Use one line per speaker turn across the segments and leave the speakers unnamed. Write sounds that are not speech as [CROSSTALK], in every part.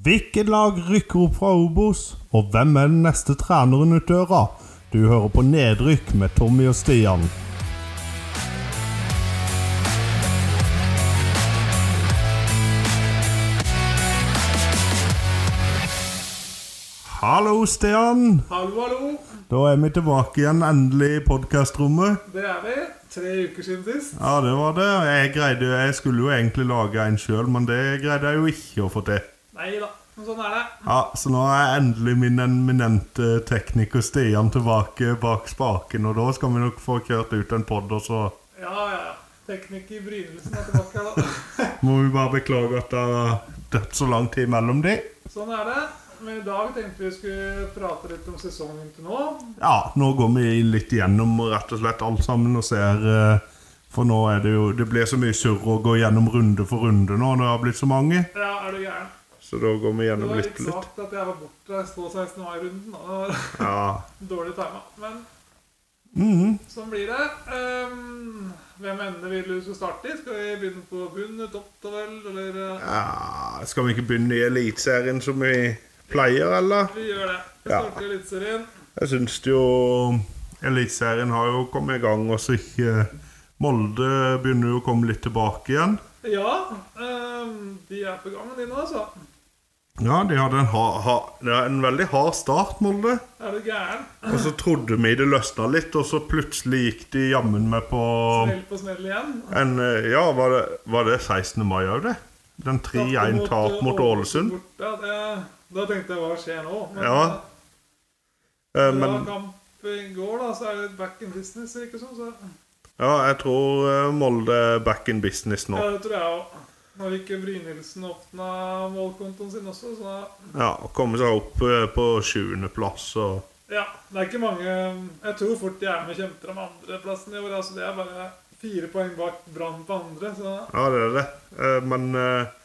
Hvilket lag rykker opp fra Obos, og hvem er den neste treneren ut døra? Du hører på Nedrykk med Tommy og Stian. Hallo, Stian.
Hallo, hallo.
Da er vi tilbake igjen, endelig, i podkastrommet.
Det er vi. Tre uker siden sist.
Ja, det var det. Jeg, greide, jo- jeg skulle jo egentlig lage en sjøl, men det greide jeg jo ikke å få til.
Nei da, men sånn er det.
Ja, Så nå er endelig min eminente tekniker Stian tilbake bak spaken, og da skal vi nok få kjørt ut en pod, og så
Ja, ja, ja. Teknikk i brynelsen er tilbake her, da. [LAUGHS]
må vi bare beklage at det har dødd så lang tid mellom de.
Sånn er det. Men i dag tenkte vi skulle prate litt om sesongen til nå.
Ja, nå går vi litt gjennom rett og slett alt sammen og ser eh, For nå er det jo Det blir så mye surr å gå gjennom runde for runde nå, det har blitt så mange.
Ja, er du gæren?
Så da går vi
Det
gjennom
var
litt
litt
litt.
svakt at jeg var borte stå 16. mai-runden. da. Det var [LAUGHS]
Ja.
Dårlig tima. Men
Mhm.
sånn blir det. Ehm, hvem ende vil du skal starte i? Skal vi begynne på bunn, topp, tabell, eller eh,
ja Skal vi ikke begynne i Eliteserien som vi pleier, eller?
Vi gjør det. Vi
Ja.
starter i Eliteserien.
Jeg syns jo Eliteserien har jo kommet i gang, og så ikke eh, Molde begynner jo å komme litt tilbake igjen.
Ja, ehm, de er på gangen, de nå, altså.
Ja, de hadde en, ha, ha, det er en veldig hard start, Molde.
Er du gæren?
Og så trodde vi det løsna litt, og så plutselig gikk de jammen meg på
Smell på smell igjen.
en eh, Ja, var det, var det 16. mai òg, det? Den 3-1-tap mot Ålesund.
Ja, det, da tenkte jeg hva skjer nå? Men
Ja,
eh,
Eh,
bra
Men
kamp i går, da, så er det back in business, virker det som. Så.
ja, jeg tror eh, Molde er back in business nå.
Ja, det tror jeg òg. Nå gikk Brynildsen åpna målkontoen sin også, så da
Ja, og Komme seg opp eh, på sjuendeplass og
Ja, det er ikke mange Jeg tror fort de er med og kjemper om andreplassen i år. Altså, det er bare fire poeng bak Brann på andre, så
Ja, det er det. Eh, Men eh,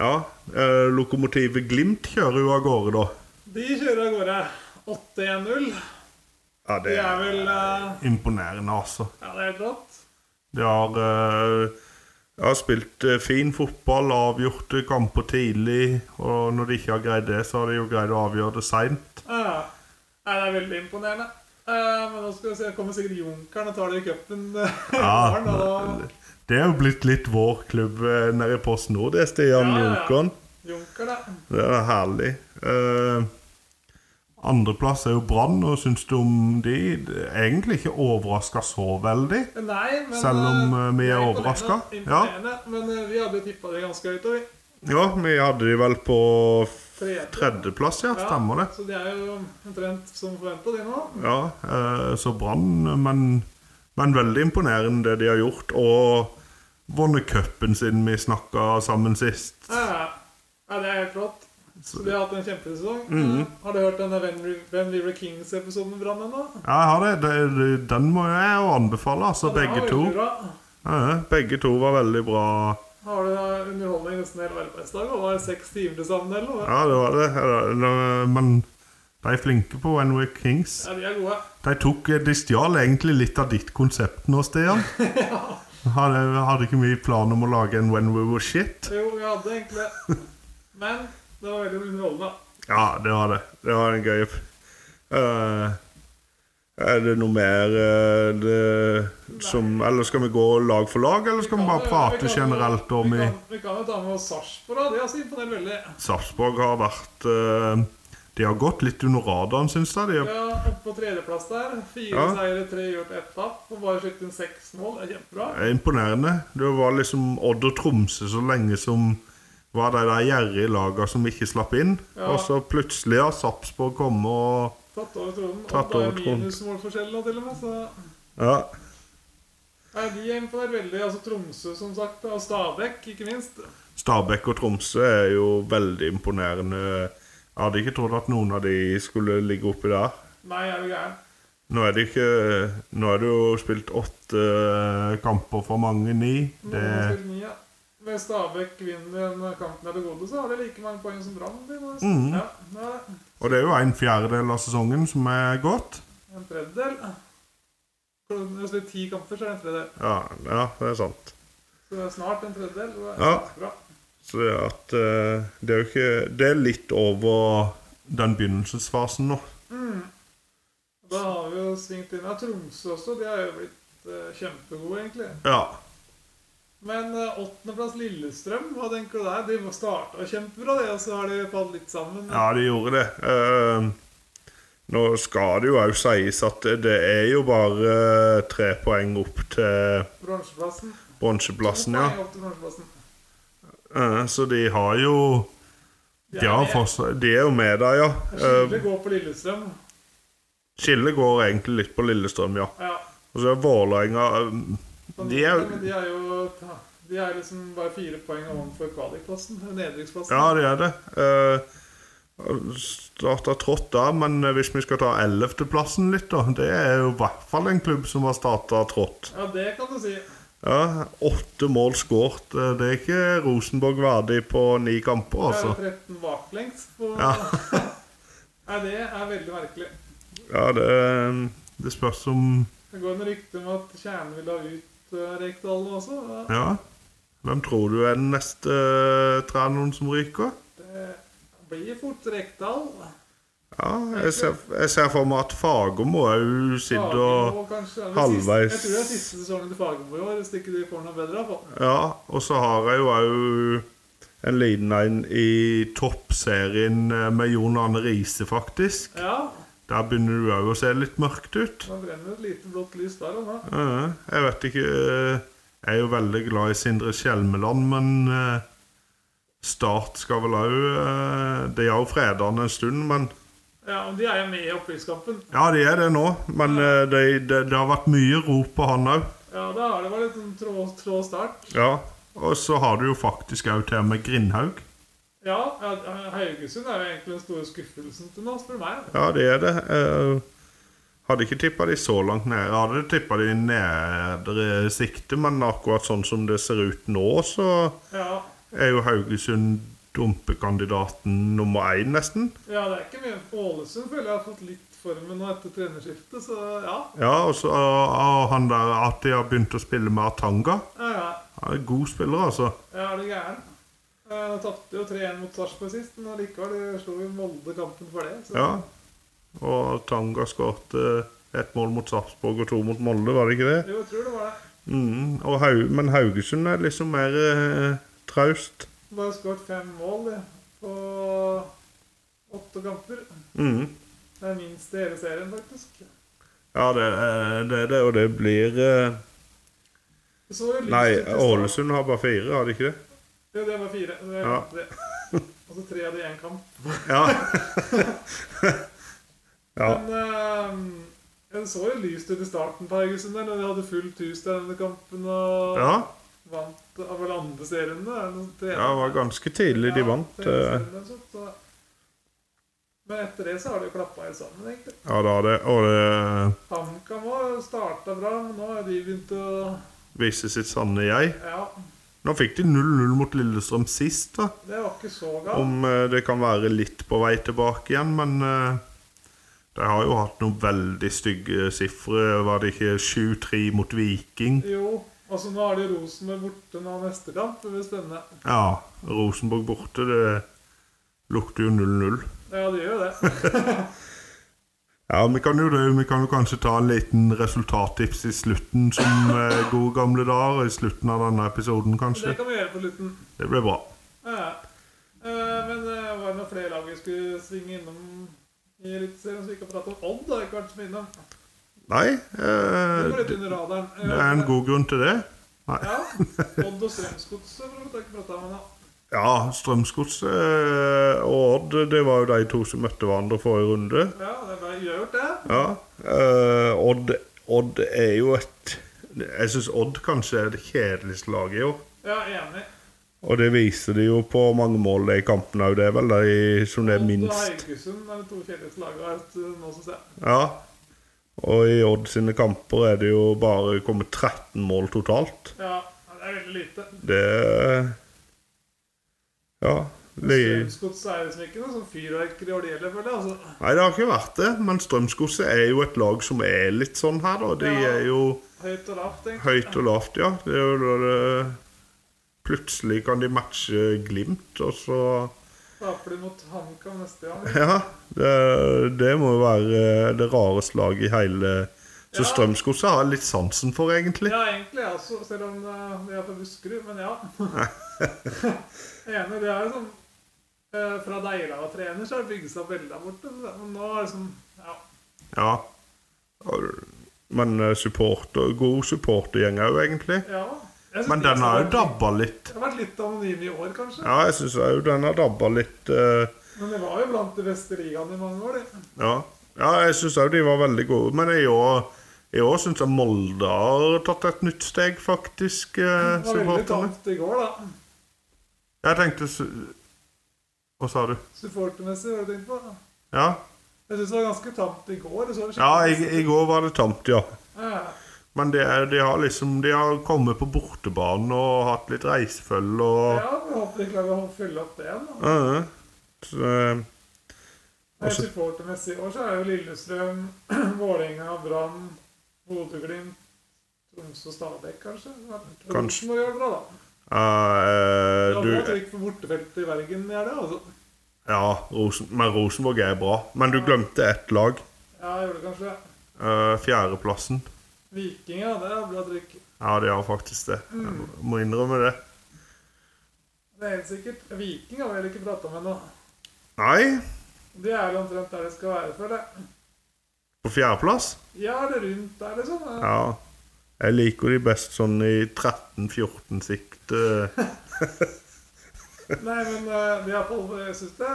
ja, eh, lokomotivet Glimt kjører jo av gårde, da.
de kjører av gårde. 8-1-0.
Ja,
De er vel eh,
imponerende, altså.
Ja, det er helt rått.
De har, eh, de har spilt eh, fin fotball, avgjort eh, kamper tidlig. Og når de ikke har greid det, så har de jo greid å avgjøre det seint.
Ja. Nei, det Ah, er veldig imponerende. Eh, men nå skal vi se, kommer sikkert Junkeren og tar det i cupen [LAUGHS] eh, i
Ja,
morgen. Og da,
det er jo blitt litt vår klubb eh, nede i Post Nord, det, Stian
Ja, ja, ja.
Junkeren.
Junker, da.
Det er herlig. Eh, Andreplass er jo Brann, og syns du om de? Det er Egentlig ikke overraska så veldig.
Nei, men
Selv om,
eh,
eh, vi er
imponerende,
overrasket. Ja.
Imponerende. Men eh, vi hadde tippa det ganske høyt. Og vi,
Ja, vi hadde de vel på f-
Tredje.
tredjeplass, ja.
Ja.
Stemmer det.
så de er jo omtrent som forventa, de nå.
Ja, eh, så Brann, men, men veldig imponerende det de har gjort. Og vunnet cupen siden vi snakka sammen sist.
Ja, ja. Ah, ja, det er helt rått. Så de har hatt en kjempesesong.
Mhm.
Eh, Har du hørt denne When We, When we Were Kings-episoden med Brann ennå?
Ja, jeg har det. Det- det- Den må jeg jo anbefale, altså.
Ja, det var
Begge
veldig
to.
bra.
Ja, begge to var veldig bra.
Har du da underholdning nesten hele arbeidsdagen? Og var det seks timer til sammen, eller? noe?
Ja, det var det. Ja, det- Men de er flinke på When We're Kings.
Ja, de er gode.
De, tok, eh, de stjal egentlig litt av ditt konsept nå,
[LAUGHS]
Stian. Hadde, hadde ikke mye plan om å lage en When We Were Shit.
Jo, vi hadde egentlig det. Men det var veldig underholdende.
Ja, det var det. Det var en gøy Eh, Er det noe mer eh, det, som Eller skal vi gå lag for lag, eller skal vi bare prate generelt om
vi
i
kan, vi kan jo ta med oss Sarpsborg, da. De har også imponert veldig.
Sarpsborg har vært eh, De har gått litt under radaren, syns jeg. De har
Ja, oppe på tredjeplass der. Fire
Ja.
seire, tre gjort ett tap. Og bare slutte inn seks mål. Det er kjempebra.
Det er Eh, Imponerende. Det var liksom Odd og Tromsø så lenge som var de der gjerrige laga som ikke slapp inn.
Ja.
Og så plutselig har Sarpsborg kommet og
Tatt over tronen.
Tatt
Og da
over
er
tronen.
minusmålforskjell nå, til og med. Så
Ja.
Nei, de er imponert veldig. Altså Tromsø, som sagt. Og Stabæk, ikke minst.
Stabæk og Tromsø er jo veldig imponerende. Jeg hadde ikke trodd at noen av de skulle ligge oppi der.
Nei, er du gæren.
Nå er det ikke Nå er det jo spilt åtte eh, kamper for mange. Ni.
Noen
Det,
har spilt ni, ja. Hvis Stabæk vinner den kampen der det gode, så har de like mange poeng som Brann. de nå.
Mm.
Ja, det er det.
og det er jo en fjerdedel av sesongen som er gått.
En tredjedel. Når du spiller ti kamper, så er det en tredjedel.
Ja, ja, det er sant.
Så det er snart en tredjedel. Så det er
Ja.
bra.
Så det er at eh, Det er jo ikke Det er litt over den begynnelsesfasen nå.
Da har vi jo svingt inn av Tromsø også. De har jo blitt eh, kjempegode, egentlig.
Ja.
Men eh, åttendeplass Lillestrøm, hva tenker du der? De starta kjempebra, de, og så har de falt litt sammen.
Ja, de gjorde det. Eh, nå skal det jo òg sies at det er jo bare eh, tre poeng opp til
Bronseplassen.
bronseplassen, ja.
Poeng opp til bronseplassen.
Eh, så de har jo
De er
De, har
med.
fortsatt, de er jo med der, ja. Eh,
Skille går på Lillestrøm.
skillet går egentlig litt på Lillestrøm, ja.
Ja.
Og så er Vålerenga eh,
Men
De er
men de er jo De er liksom bare fire poeng ovenfor kvalikplassen. Nedrykksplassen.
Ja, det er det. Uh, Starta trått der, men hvis vi skal ta ellevteplassen litt, da Det er jo i hvert fall en klubb som har starta trått.
Ja, det kan du si.
Ja, Åtte mål skåret. Eh, Det er ikke Rosenborg verdig på ni kamper,
Det er jo
altså.
13 baklengs. På...
Ja.
[LAUGHS] Nei, det er veldig merkelig.
Ja, det, eh, det spørs om
Det går en rykte om at Kjernen vil ha ut eh, Rekdal nå også. Ja,
Ja. Hvem tror du er den neste eh, treneren som ryker?
Det blir fort Rekdal.
Ja, jeg ser, jeg ser for meg at Fagermo òg sitter og
Fagermo kanskje. Det er vel
halvveis-
Siste, jeg tror det er siste sesongen til Fagermo i år, hvis ikke de får noe bedre. av han.
Ja, og så har jeg jo òg en liten en i toppserien eh, med Jon Arne Riise, faktisk.
Ja,
Der begynner du òg å se litt mørkt ut.
nå brenner et lite blått lys der og da.
Eh, Jeg vet ikke eh, Jeg er jo veldig glad i Sindre Skjelmeland, men eh, Start skal vel òg De har jo fredagen en stund, men
Ja, men de er jo med i opprykkskampen.
Ja, de er det nå. Men eh, det det- det har vært mye rop på han òg.
Ja, da har det vært litt sånn trå, trå start.
Ja. Og så har du jo faktisk òg til med Grindhaug.
Ja, ja, Haugesund er jo egentlig den store skuffelsen til nå, spør du meg.
Ja, det er det. Eh, hadde ikke tippa de så langt ned. Jeg hadde tippa de i nedre sikte, men akkurat sånn som det ser ut nå, så
Ja,
er jo Haugesund dumpekandidaten nummer én, nesten.
ja, det er ikke mye. Ålesund føler jeg har fått litt formen nå etter trenerskiftet, så ja.
Ja, og så og han der at de har begynt å spille med Atanga.
Ja, ja.
Han er en god spiller, altså.
Ja, er du gæren? Eh, Nå tapte jo 3-1 mot Sarpsborg sist, men allikevel de slo jo Molde kampen for det. Så.
Ja. Og Atanga skårte ett mål mot Sarpsborg og to mot Molde, var det ikke det?
Jo, jeg tror det var det.
Mm, og Hau, men Haugesund er liksom mer eh, traust.
Bare skåret fem mål det, på åtte kamper.
Mm.
Det er minst i hele serien, faktisk.
Ja, det er det, er det, og det blir eh,
Det Så jo lyst
Nei,
ut i starten.
Ålesund har bare fire, har de ikke det?
Ja, det var fire. Det
Ja.
var det. [LAUGHS] Og så tre av det i én kamp.
Ja. [LAUGHS] ja.
Men eh, ja, det så jo lyst ut i starten på Haugesund, der, når de hadde fullt hus der denne kampen og
ja.
vant av vel andre serien. da, eller noe tredje.
Ja, det var ganske tidlig de
Ja,
vant.
det
eh,
er det som er sånn, så- Men etter det så har de jo klappa helt sammen, egentlig.
Ja, da det. Og det eh,
HamKam òg starta bra, men nå har de begynt å
viser sitt sanne jeg.
Ja,
Nå fikk de 0-0 mot Lillestrøm sist, da.
det var ikke så galt.
Om eh, det kan være litt på vei tilbake igjen, men eh, de har jo hatt noen veldig stygge sifre. Var det ikke 7-3 mot Viking?
Jo, og så nå har de Rosenborg borte nå neste kamp. Det blir spennende.
Ja. Rosenborg borte, det lukter jo 0-0.
Ja, de gjør jo
[LAUGHS]
det.
Ja, vi kan jo det. Vi kan jo kanskje ta en liten resultattips i slutten som eh, gode gamle dager. I slutten av denne episoden, kanskje.
Det kan vi gjøre på slutten.
Det blir bra.
Ja. Eh, Men eh, var det noen flere lag vi skulle svinge innom i Eliteserien som vi ikke har pratet om? Odd har ikke vært så mye innom.
Nei,
Det
eh,
går litt
det
under radaren. Eh,
det er en god grunn til det.
Ja. Odd og Strømsgodset har vi ikke pratet om ennå.
Ja, Strømsgodset eh, og Odd, det var jo de to som møtte hverandre forrige runde.
Ja, det er bare gjort, det.
Ja, eh, Odd, Odd er jo et Jeg syns Odd kanskje er det kjedeligste laget i år.
Ja, enig.
Og det viser de jo på mange mål i kampen òg. Det er vel de som det er
Odd og
minst
Haugesund er de to kjedeligste lagene her til eh, nå, synes jeg.
Ja. Og i Odd sine kamper er det jo bare kommet 13 mål totalt.
Ja, det er veldig lite.
Det Ja. Det...
Strømsgodset er liksom ikke noe sånn fyrverkeri når det gjelder, føler jeg. Altså.
Nei, det har ikke vært det. Men Strømsgodset er jo et lag som er litt sånn her, da. De
Ja.
er jo
Høyt og lavt, egentlig.
høyt og lavt, ja. Det er jo da det Plutselig kan de matche Glimt, og så
Taper de mot HamKam neste gang?
Ja. Det, det må jo være det rareste laget i hele Så
Ja.
Strømsgodset har jeg litt sansen for, egentlig.
Ja, egentlig jeg også, selv om eh, vi er fra Buskerud,
[LAUGHS]
men ja. Enig, det er jo sånn eh, Fra Deila var trener, så har det bygd seg opp veldig der borte. Men nå er det sånn Ja.
Ja. Og- Men eh, supporter, god supportergjeng òg, egentlig.
ja. Jeg synes sånn
Men
de
den har jo
vært-
dabba litt.
Det har vært litt anonyme i år, kanskje.
Ja, jeg syns òg den har dabba litt. eh,
Men det var jo blant de beste ligaene i mange år. det.
Ja, ja jeg syns òg de var veldig gode. Men i år, i år syns jeg Molde har tatt et nytt steg, faktisk. eh,
Det var veldig
supporterne.
tamt i går, da.
Jeg tenkte su- Hva sa du?
Supportermessig, hva har du tenkt på?
Ja,
Jeg syns det var ganske tamt i går. Det så
ja i, i går var det tamt, ja.
Ja.
Men det, er- de har liksom De har kommet på bortebane og hatt litt reisefølge og
Ja, vi håper vi klarer å fylle opp det igjen. da.
Ja, ja. Så, eh,
Nei,
Altså-
Supportermessig i år så er jo Lillestrøm, [CLEARS THROAT] Vålerenga, Brann, Bodø-Glimt, Tromsø og Stabæk, kanskje. Ja,
Kanskje.
Rosenborg gjør det bra, da.
eh,
Det er bra
du,
trykk på bortefeltet i Bergen, det er det, altså.
ja, Rosen, men Rosenborg er bra. Men du glemte ett lag.
Ja, jeg gjør det kanskje.
eh, fjerdeplassen.
Viking, ja. Det er bra trykk.
Ja, de har faktisk det. Jeg må innrømme det.
Det er helt sikkert. Viking har vi heller ikke prata med ennå.
Nei,
Det er vel omtrent der det skal være, føler jeg.
på fjerdeplass?
Ja, det er rundt der, liksom.
Ja. Jeg liker de best sånn i eh, 13-14-sikt.
Nei, men eh, det er iallfall Jeg syns det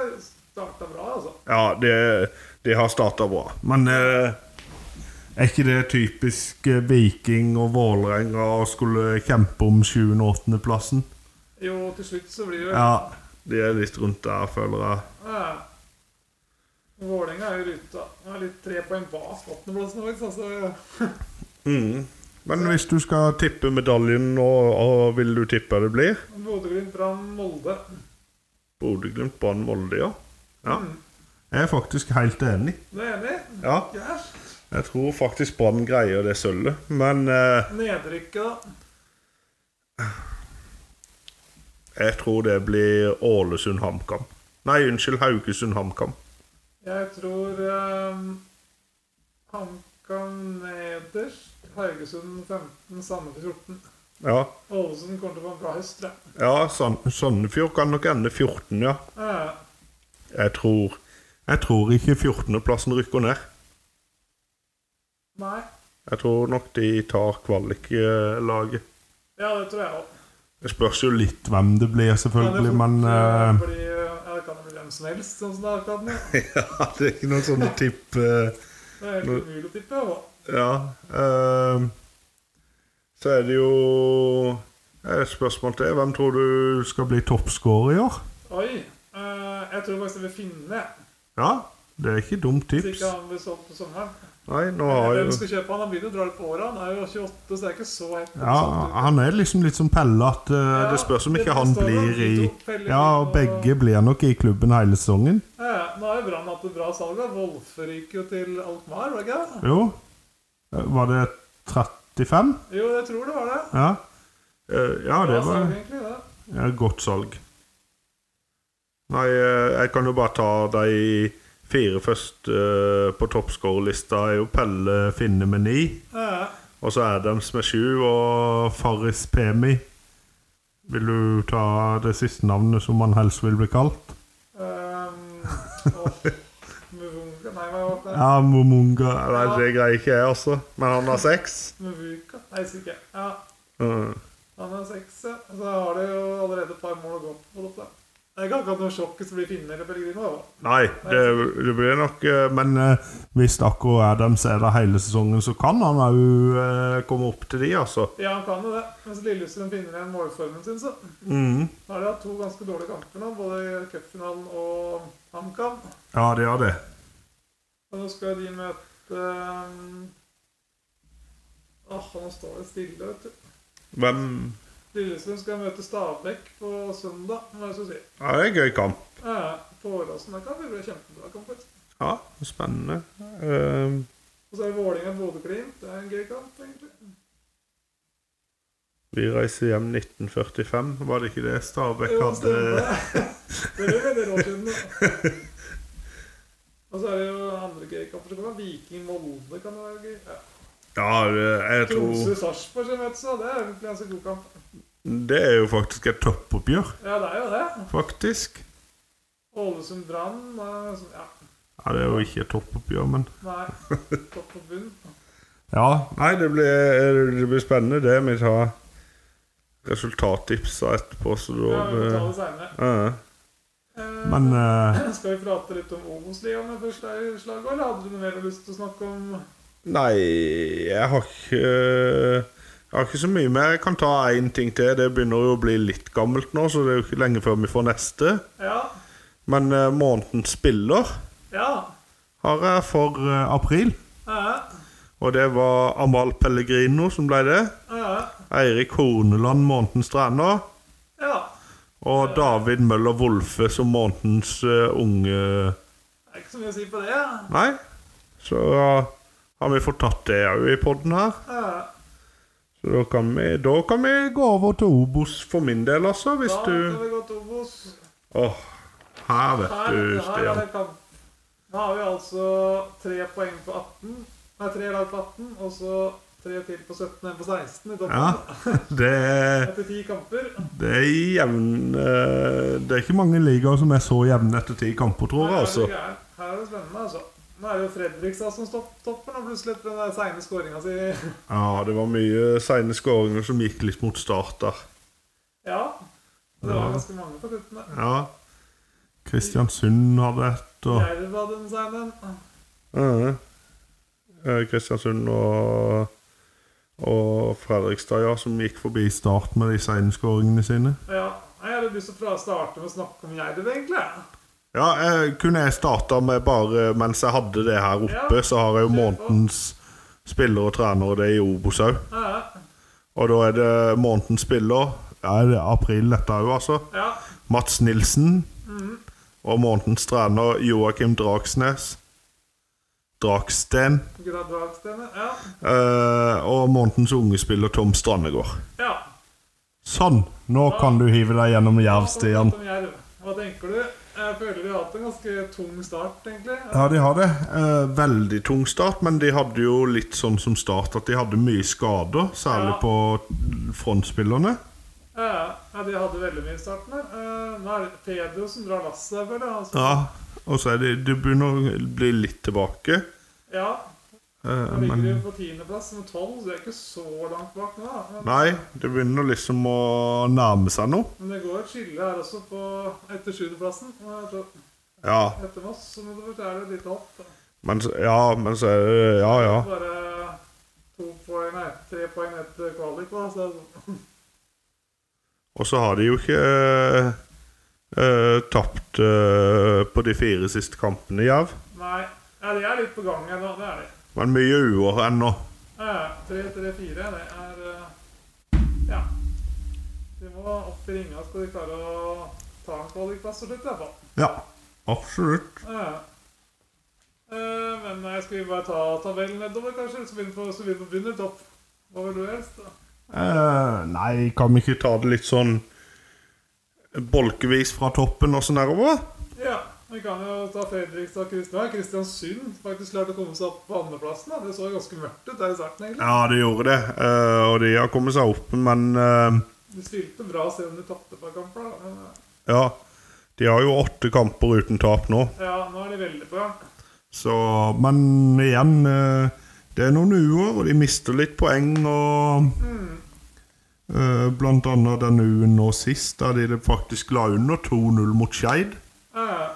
starta bra, altså.
Ja, det, det har starta bra. Men eh, er ikke det typisk eh, Viking og Vålerenga å skulle kjempe om 7.- og 8.-plassen?
Jo, til slutt så blir det
Ja. De er litt rundt der, føler jeg.
Ja. Vålerenga er jo i ruta. Det er litt tre poeng bak åttendeplassen vår. Altså,
Men hvis du skal tippe medaljen nå, hva vil du tippe det blir?
Bodø-Glimt, Brann, Molde.
Bodø-Glimt, Brann, Molde, ja. ja. Jeg er faktisk helt enig.
Du er enig?
Mm. Ja.
Yes.
Jeg tror faktisk Brann greier det sølvet, men eh,
Nedrykket, da.
jeg tror det blir Ålesund-HamKam. Nei, unnskyld, Haugesund-HamKam.
Jeg tror um, HamKam nederst. Haugesund 15, Sandefjord 14.
Ja,
Ålesund kommer til å få en bra høst, tror jeg.
ja Sand Sandefjord kan nok ende 14, ja.
Ja.
Jeg tror, jeg tror ikke 14.-plassen rykker ned.
Nei.
Jeg tror nok de tar kvaliklaget.
Ja, det tror jeg òg.
Det spørs jo litt hvem det blir, selvfølgelig, men
ja,
eh,
det kan jo bli hvem som helst, sånn som det er akkurat nå.
[LAUGHS] Ja, det er ikke noe sånn tipp eh,
Det er helt umulig å tippe. hva.
Ja. ehm, så er det jo et spørsmål til. Hvem tror du skal bli toppscorer i år?
Oi. eh, jeg tror faktisk jeg vil finne jeg.
Ja, det er ikke dumt
Så
tips.
ikke han blir solgt på sommeren.
Nei, nå har
Hvem
jo
skal kjøpe han? Han begynner å dra litt på åra. Han er jo 28, så det er ikke så helt
ja, Han er liksom litt som Pelle, at eh,
Ja,
det spørs om
det
ikke han
består av
blir i
de to, Pelle
Ja,
og-
og begge blir nok i klubben hele sesongen.
ja, Eh, Nå har jo Brann hatt et bra salg. da. Wolfe ryker jo til Alkmaar, var det ikke det?
Jo. Eh, Var det 35?
Jo, jeg tror det var det.
Ja. Eh, ja,
Bra
det var
salg, egentlig, det.
Ja, godt salg. Nei, eh, jeg kan jo bare ta de fire første eh, på toppskårerlista. er jo Pelle Finne med ni.
Ja,
Og så Adams med sju og Farris Pemi. Vil du ta det siste navnet som han helst vil bli kalt?
ehm, og Muvunga Nei, hva var det?
Ja, Momunga Nei, det greier ikke jeg, altså. Men han har seks.
Muvuka? Nei, sikkert. Ja,
Mm.
han er seks, ja. Så har det jo allerede et par mål å gå på. dette. Det er ikke akkurat noe sjokk hvis det blir Finne eller Pellegrino. da.
Nei, det, det blir nok eh, Men eh, hvis akkurat Adams er der hele sesongen, så kan han òg eh, komme opp til de, altså.
Ja, han kan jo det. Mens Lillestrøm finner igjen målformen sin, så
Mm.
Da har de hatt to ganske dårlige kamper nå, både i cupfinalen og HamKam.
Ja, det gjør det.
Og nå skal de møte ehm, Åh, nå står det stille, vet du.
Hvem
Lillestrøm skal møte Stabæk på søndag, hva skal jeg si.
Ja, det er en gøy kamp.
Eh, på Åråsen. Det kan bli en kjempebra kamp. vet du.
Ja, spennende. Eh,
Og så er det Vålerenga-Bodø-Glimt. Det er en gøy kamp, egentlig.
Vi reiser hjem 1945, var det ikke det Stabæk
Jo,
hadde?
stemmer det. Det er jo veldig rart siden, da. Og så er det jo andre gøy kamper. Så kan det være Viking Molde. kan det være gøy. Ja.
Ja, det- jeg tror
Tromsø-Sarpsborg, som vet så, det er egentlig en ganske god kamp.
Det er jo faktisk et toppoppgjør,
Ja, det er jo det.
faktisk.
Ålesund-Brann eh, så- Ja,
Ja, det er jo ikke et toppoppgjør, men
nei. Topp og bunn.
Ja. Nei, det blir, det blir spennende, det. Vi tar resultattipsa etterpå, så
Ja, vi får ta
da
det seinere.
ja.
Eh,
Men eh,
skal vi prate litt om Obos-ligaen først? er i slaget, Eller hadde du noe mer lyst til å snakke om?
Nei, jeg har ikke eh, Jeg har ikke så mye mer. Jeg kan ta én ting til. Det begynner jo å bli litt gammelt nå, så det er jo ikke lenge før vi får neste.
Ja.
Men eh, månedens spiller
Ja.
har jeg for eh, april.
Ja.
Og det var Amal Pellegrino som ble det.
Ja.
Eirik Horneland månedens trener.
ja.
Og David Møller Wolfe som månedens eh, unge
Det er ikke så mye å si på det. Ja.
Nei. Så ja, har vi fått tatt det òg i poden her.
Ja.
Så da kan, vi, da kan vi gå over til Obos for min del, altså, hvis
Da
du
kan vi gå til Obos.
Åh, her vet
Her,
du,
her er
Stian.
det kamp. Nå har vi altså tre poeng på 18. Nei, tre lag på 18, og så tre til på 17 og en på 16 i toppen.
Ja, [LAUGHS] det er,
Etter ti kamper.
det er jevn eh, Det er ikke mange ligaer som er så jevne etter ti kamper, tror jeg,
Her er, det
altså.
gærent. her er det spennende, altså. Nå er det jo Fredrikstad som stopp, topper nå plutselig etter den der seine skåringa si.
Ja, det var mye seine skåringer som gikk litt mot start der.
[LAUGHS] Ja. Det var ganske mange på slutten. der.
Ja. Kristiansund hadde et, og
Jerv hadde den seine.
Mhm. Eh, Kristiansund og, og Fredrikstad, ja, som gikk forbi start med de seinskåringene sine.
Ja. Jeg hadde lyst til å fra- starte med å snakke om Jerv, egentlig.
Ja, jeg, kunne jeg starta med bare mens jeg hadde det her oppe,
Ja,
så har jeg jo
kjør på.
månedens spiller og trener, og det er i Obos òg.
Ja.
Og da er det månedens spiller Ja, det er april dette òg, altså.
ja.
Mats Nilsen. Og månedens trener Joakim Dragsnes. Dragsten.
Gradagstene. Ja.
Eh, og månedens unge spiller Tom Strandegård.
ja.
Sånn! Nå kan du hive deg gjennom Jerv, Stian.
Pratet om Jerv. Hva tenker du? Jeg føler vi har hatt en ganske tung start, egentlig.
Ja, de har det. Eh, veldig tung start, men de hadde jo litt sånn som start at de hadde mye skader, særlig
Ja.
på frontspillerne.
Ja, ja, de hadde veldig mye i starten her. Eh, Nå er det Pedro som drar lasset her, føler jeg. Altså.
Ja, og så er de, de begynner å bli litt tilbake.
Ja,
Eh,
nå ligger
men
de på tiendeplass med tolv, så de er ikke så langt bak nå. da. Men,
Nei, det begynner liksom å nærme seg noe.
men det går et skille her også, på etter sjuendeplassen. Og jeg tror-
Ja,
Etter Moss så må det være litt opp. da.
men, så- ja, men så er det Ja, ja.
Bare to poeng, nei, tre poeng etter kvalik, da. Så det er sånn.
Og så har de jo ikke eh, eh, tapt eh, på de fire siste kampene, Jerv.
Nei. Ja, de er litt på gang ennå, det er de.
Men mye uår ennå.
Ja, 3-3-4, det er eh, Ja. De må opp i ringa skal de klare å ta en kvalikplass til slutt, i hvert fall.
Ja, absolutt.
Ja. Eh, Men eh, skal vi bare ta tabellen nedover, kanskje? Så begynner vi på- så begynner vi på bunn i topp. Hva vil du helst? da?
Eh, nei, kan vi ikke ta det litt sånn bolkevis fra toppen og så nedover?
Ja, vi kan jo ta Fredrikstad og Kristian. Ja, Kristiansund faktisk klarte å komme seg opp på andreplassen. da. Det så ganske mørkt ut der i starten, egentlig.
Ja, det gjorde det. Eh, og de har kommet seg opp, men eh,
De spilte bra selv om de tapte på kamper. da. Men, eh,
ja. De har jo åtte kamper uten tap nå.
Ja, nå er de veldig på gang.
Så, men igjen eh, Det er noen uer, og de mister litt poeng og eh, Blant annet den uken nå sist, der de det faktisk la under 2-0 mot Skeid.
Ja.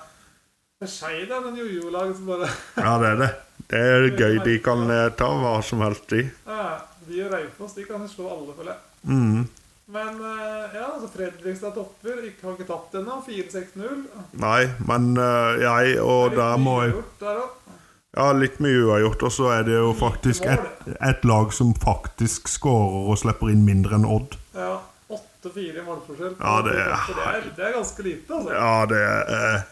Det er Skeid, ja. Den jojo-laget som bare
Ja, det er det. Det er gøy. De kan eh, ta hva som helst, de.
Ja, De og Raufoss de kan slå alle, føler jeg.
Mm.
Men eh, ja, altså Fredrikstad topper. Ikke, har ikke tapt ennå. 4-6-0.
Nei, men eh, jeg Og der må jeg
Gjort der også.
Ja, litt mye uavgjort. Og så er det jo faktisk et, et lag som faktisk skårer og slipper inn mindre enn Odd.
Ja, 8-4 i målforskjell.
Ja, det er-
det er, det er ganske lite, altså.
Ja, det er eh,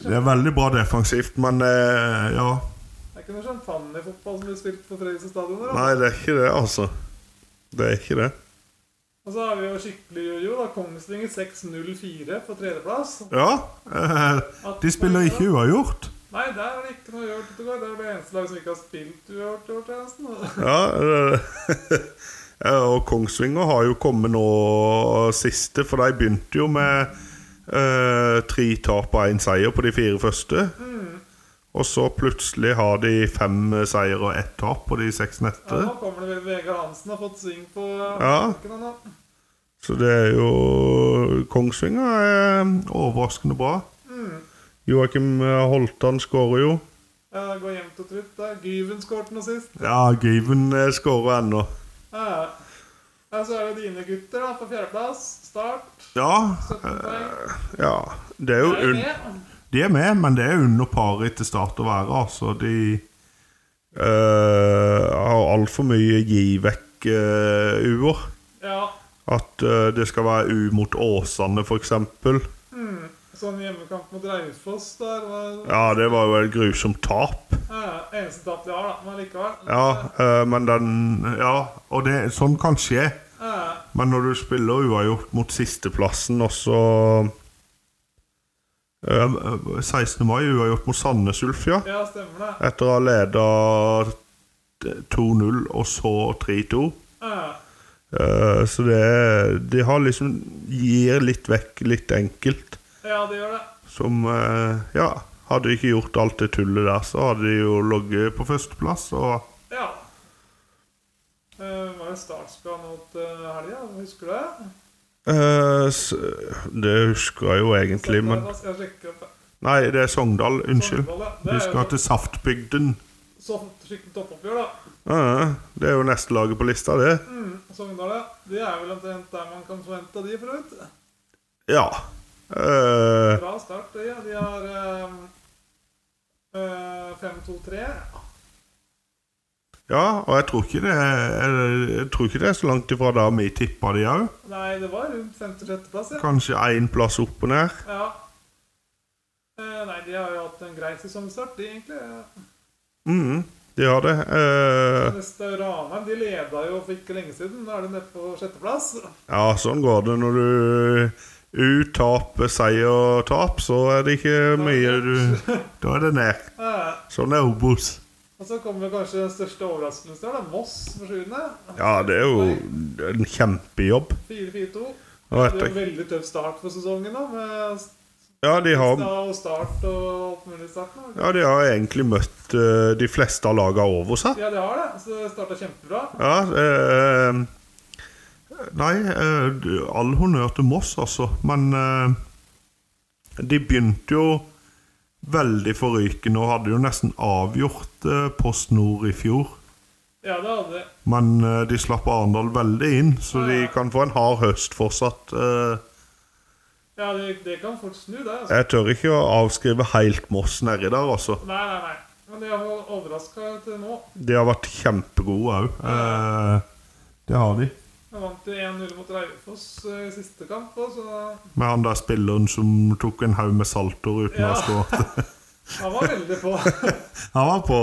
Det er veldig bra defensivt, men eh, ja.
Det er ikke noe champagnefotball som blir spilt på Fredrikstad stadion. her, altså.
Nei, det er ikke det, altså. Det er ikke det.
Og så har vi jo skikkelig jojo. da, Kongsvinger 6-0-4 på tredjeplass.
Ja. Eh, de spiller ikke uavgjort.
Nei, der var det ikke noe uavgjort. vet du hva. Det er det eneste laget som ikke har spilt uavgjort. i år, tror jeg, nesten.
Ja, eh, [LAUGHS] ja, og Kongsvinger har jo kommet nå siste, for de begynte jo med eh, tre tap og én seier på de fire første. Og så plutselig har de fem seier og ett tap på de seks
Ja,
neste.
nå kommer det Vegard Hansen har fått sving på
Ja.
bakken han nå.
Så det er jo Kongsvinger er overraskende bra. Joakim Holtan skårer jo.
Ja, det går jevnt og trutt der. Gyven skåret nå sist.
Ja, Gyven eh, skårer ennå.
Ja, ja. ja, så er det dine gutter da, på fjerdeplass. Start.
Ja,
17
[LAUGHS]
poeng.
ja. Det er jo
Er
un
det?
De er med, men det er under paret til start å være. Altså, de eh, har altfor mye gi-vekk-u-er.
Ja.
At eh, det skal være u mot Åsane, f.eks.
Sånn hjemmekamp mot Raufoss der. var-
Ja, det var jo et grusomt tap.
Ja, ja. Eneste tap de har, da. Men likevel.
Ja, eh, men den Ja, og det, sånn kan skje.
Ja,
Men når du spiller uavgjort mot sisteplassen, og så eh, 16. mai uavgjort mot Sandnes Ulf, ja.
ja, stemmer det.
Etter å ha leda 2-0 og så 3-2.
Ja,
Eh, Så det er, de har liksom gir litt vekk litt enkelt.
ja, det gjør det.
Som eh, Ja, hadde de ikke gjort alt det tullet der, så hadde de jo ligget på førsteplass. Og
Ja. Det var jo startspill nå til helga, husker du det?
eh, s- Det husker jeg jo egentlig, men
Jeg skal sjekke opp det.
Nei, det er Sogndal. Unnskyld.
Sogndal, ja. Det
Vi
er jo
skal til Saftbygden.
Så skikkelig toppoppgjør, da.
Ja, det er jo neste laget på lista, det.
Mm, Sogndal, ja. De er vel omtrent der man kan forvente av de, for øvrig.
Ja. Eh,
Bra start, de. ja. De har ehm, eh, 5-2-3.
Ja, og jeg tror ikke det er, jeg tror ikke det er så langt ifra der vi tippa de òg.
Nei, det var rundt 5.-6.-plass, ja.
Kanskje én plass opp og ned.
ja. Eh, nei, de har jo hatt en grei sesongstart, de, egentlig.
Mm, de har det. Eh,
Neste Ranheim de leda jo for ikke lenge siden. Nå er de nede på sjetteplass.
ja, sånn går det når du U-tap, seier, tap, så er det ikke mye du Da er det ned.
Eh,
Sånn er Obos.
og så kommer kanskje den største overraskelsen i år, da. Moss for sjuende.
Ja, det er jo en kjempejobb.
4-4-2.
Og
Det er jo
etter,
en veldig tøff start for sesongen, da. Med
ja, de har,
Stad og Start og alt mulig i starten. da.
ja, de har egentlig møtt eh, de fleste av lagene over seg.
Ja, de har det. Så det starta kjempebra.
Ja, eh, Nei, eh, du, all honnør til Moss, altså. Men eh, de begynte jo veldig forrykende og hadde jo nesten avgjort eh, Post Nord i fjor.
Ja, det hadde de.
Men eh, de slapp Arendal veldig inn, så de kan få en hard høst fortsatt. Eh,
Ja, det, det kan fort snu, det. Altså.
jeg tør ikke å avskrive helt Moss nedi der, altså.
Nei, nei, nei. Men de har overraska til nå.
De har vært kjempegode òg. Eh, det har de.
De vant jo 1-0 mot Raufoss eh, i siste kamp. Og så
Med han der spilleren som tok en haug med saltoer uten å
Ja.
ha skåret.
han var veldig på.
Han var på.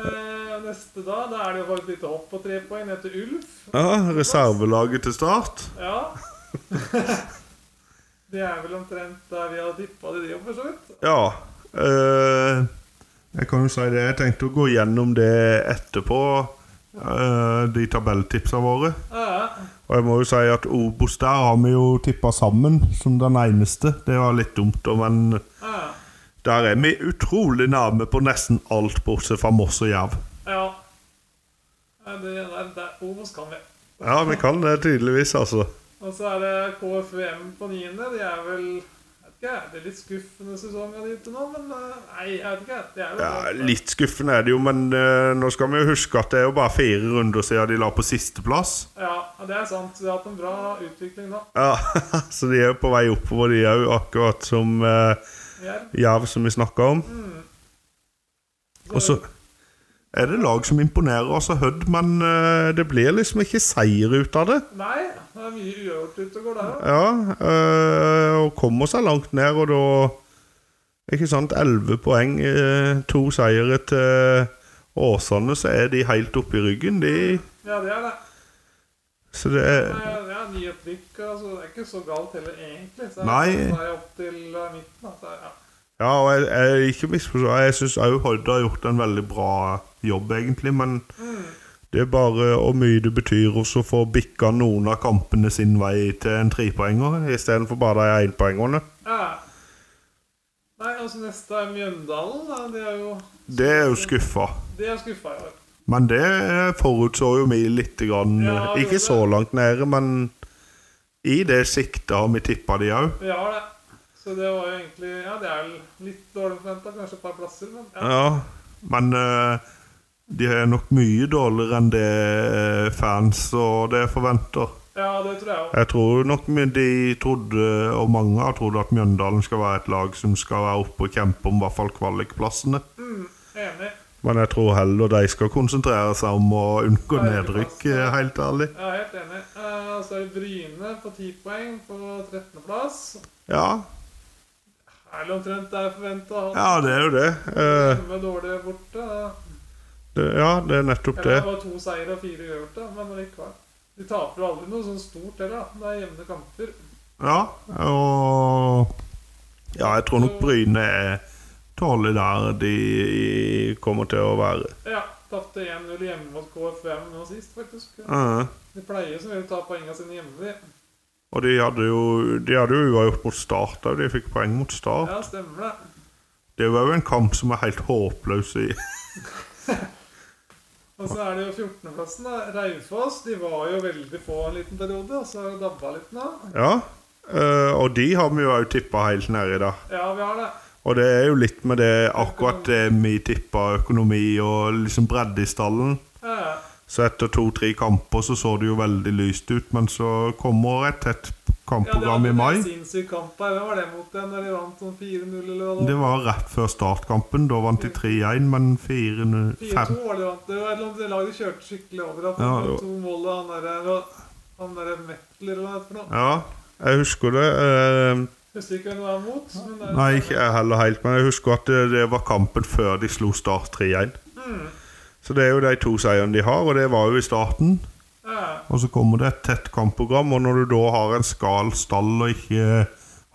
Eh, neste da, da er det jo bare et lite hopp på tre poeng ned til Ulf.
Ja, Reservelaget til start.
Ja. [LAUGHS] Det er vel omtrent der vi hadde tippa de, de, for så vidt.
Ja. eh, jeg kan jo si det. Jeg tenkte å gå gjennom det etterpå, eh, de tabelltipsa våre.
Eh,
Og jeg må jo si at Obos der har vi jo tippa sammen som den eneste. Det var litt dumt, da, men
eh,
der er vi utrolig nærme på nesten alt bortsett fra Moss og Jerv.
ja. Nei, Det der, der, Obos kan vi.
Ja, vi kan det tydeligvis, altså.
Og så er det KFUM på niende. De er vel jeg vet ikke, Det er litt skuffende sesong av de til nå, men eh, nei, jeg vet ikke. Det er jo
Ja,
bra.
litt skuffende er det jo, men eh, nå skal vi jo huske at det er jo bare fire runder siden de la på sisteplass.
Ja, det er sant. Vi har hatt en bra utvikling nå.
Ja, [LAUGHS] så de er jo på vei oppover, de òg, akkurat som eh,
Vi er.
Jerv, som vi snakka om. Og så er det lag som imponerer, altså Hødd, men eh, det blir liksom ikke seier ut av det.
Nei, det er mye uavgjort ute og går der òg.
Ja, eh, og kommer seg langt ned, og da Ikke sant, elleve poeng, eh, to seire til Åsane, så er de helt oppe i ryggen, de.
Ja, det er det.
Så det er
Men Ja, nyhetdykk altså, Det er ikke så galt heller, egentlig. Så er-
Nei.
Så er jeg opp til eh, midten. da. Så er- ja.
Ja, og jeg, jeg ikke misforstå. Jeg syns òg Hodde har gjort en veldig bra jobb, egentlig. Men
Mm.
det er bare hvor mye det betyr også å få bikka noen av kampene sin vei til en trepoenger, istedenfor bare de énpoengerne.
Ja. Nei, altså neste er Mjøndalen. Da. De er jo
Det er jo skuffa.
de er skuffa i år.
Men det forutså jo vi litt. Grann,
Ja, det
ikke så langt nede, men i det siktet har vi tippa de òg.
Vi har det. Så det var jo egentlig Ja, det er vel litt dårlig forventa, kanskje et par plasser, men ja.
Ja, men eh, de er nok mye dårligere enn det eh, fans og det forventer.
ja det tror jeg òg.
Jeg tror nok my- de trodde, og mange har trodd, at Mjøndalen skal være et lag som skal være oppe og kjempe om i hvert fall kvalikplassene.
Mm, enig.
Men jeg tror heller de skal konsentrere seg om å unngå nedrykk, eh, helt ærlig.
Jeg er helt enig. Eh, så er det Bryne på 10 poeng på 13.-plass.
Ja,
Er det omtrent der forventa?
ja det er jo det. Eh,
Hjemme dårlig borte. da.
det. Ja, det er nettopp
Eller
det.
det var to seire og fire uavgjort, da, men likevel. De taper jo aldri noe sånn stort heller. da. Det er jevne kamper.
Ja, og Ja, jeg tror nok Bryne er dårlig der de kommer til å være.
Ja, tapte 1-0 hjemme mot KFM nå sist, faktisk.
Eh,
De pleier som regel å ta poengene sine hjemme. de.
Og de hadde jo De hadde jo uavgjort mot Start òg, de fikk poeng mot Start.
Ja, stemmer det.
Det var jo en kamp som er helt håpløs i
Og så er det jo 14.-plassen. da. Raufoss de var jo veldig få en liten periode, og så har det dabba litt nå.
Ja. eh, og de har vi jo òg tippa helt nedi der.
Ja, vi har det.
Og det er jo litt med det akkurat det vi tippa økonomi og liksom bredde i stallen.
Ja, ja.
Så etter to-tre kamper så så det jo veldig lyst ut, men så kommer et tett
ja det
kampprogram
var
i mai.
en sinnssyk kamp her. Hvem var det mot den? Når de vant sånn 4-0 eller hva
Det
det var?
var rett før startkampen. Da vant de 3-1, men 4-5
4-2 var det de vant. Det var et eller annet lag de kjørte skikkelig over. Da,
Ja,
ja,
det var-
to mål og han der, han der Metler eller hva det er for noe.
Ja, jeg husker det. eh,
Husker ikke hvem det var mot. Men det er,
Nei, ikke jeg heller helt, men jeg husker at det, det var kampen før de slo Start 3-1. Så det er jo de to seierne de har, og det var jo i starten.
Ja,
Og så kommer det et tett kampprogram, og når du da har en skal stall og ikke eh,